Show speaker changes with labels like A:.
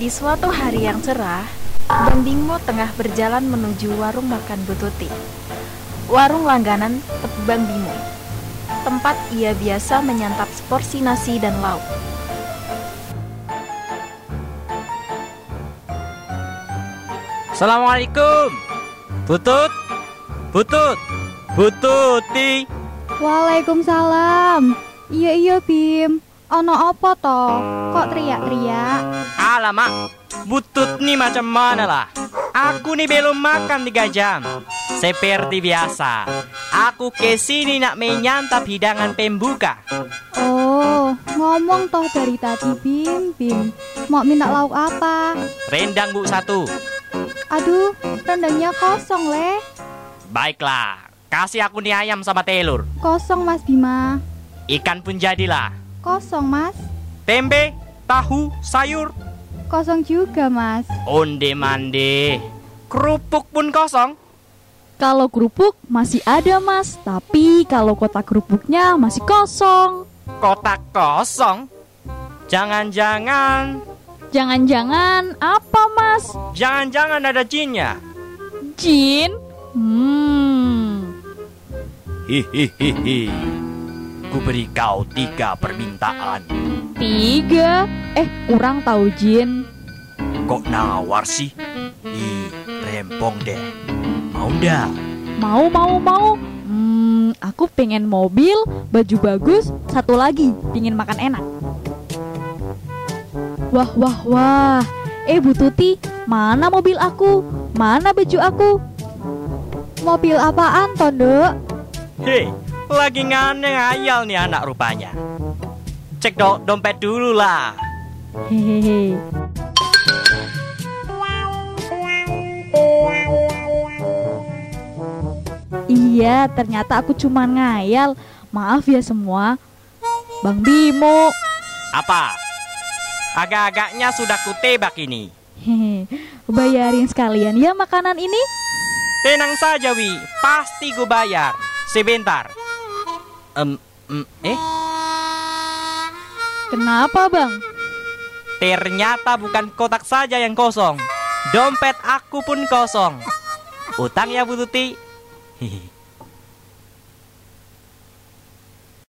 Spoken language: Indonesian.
A: Di suatu hari yang cerah, Bendingmo tengah berjalan menuju warung makan Bututi. Warung langganan Tebang Bimo. Tempat ia biasa menyantap seporsi nasi dan lauk.
B: Assalamualaikum. Butut. Butut. Bututi.
C: Waalaikumsalam. Iya iya Bim. Ono apa to? Kok teriak-teriak?
B: Alamak. Butut nih macam mana lah? Aku nih belum makan tiga jam. Seperti biasa, aku kesini nak menyantap hidangan pembuka.
C: Oh, ngomong toh dari tadi Bim, Bim. Mau minta lauk apa?
B: Rendang bu satu.
C: Aduh, rendangnya kosong le.
B: Baiklah, kasih aku nih ayam sama telur.
C: Kosong Mas Bima.
B: Ikan pun jadilah.
C: Kosong Mas.
B: Tempe, tahu, sayur,
C: Kosong juga Mas.
B: onde mande. Kerupuk pun kosong.
D: Kalau kerupuk masih ada mas, tapi kalau kotak kerupuknya masih kosong.
B: Kotak kosong. Jangan-jangan,
D: Jangan-jangan apa mas?
B: jangan-jangan ada jinnya.
D: Jin? Hmm.
B: Hihihihi. Ku beri kau tiga permintaan.
D: Tiga? Eh kurang tahu Jin.
B: Kok nawar sih? Ih, rempong deh. Mau dah.
D: Mau mau mau. Hmm, aku pengen mobil, baju bagus, satu lagi pingin makan enak. Wah wah wah. Eh Bu Tuti, mana mobil aku? Mana baju aku?
C: Mobil apaan to, Nduk?
B: Hei, lagi nganeh ayal nih anak rupanya. Cek do dompet dulu lah.
D: Hehehe. Iya, ternyata aku cuma ngayal. Maaf ya semua. Bang Bimo.
B: Apa? Agak-agaknya sudah kutebak ini.
D: Hehe. Bayarin sekalian ya makanan ini.
B: Tenang saja, Wi. Pasti gue bayar. Sebentar. Em, em, eh,
D: Kenapa, Bang?
B: ternyata bukan kotak saja yang kosong. Dompet aku pun kosong. Utang ya, Bu Tuti. Hihi.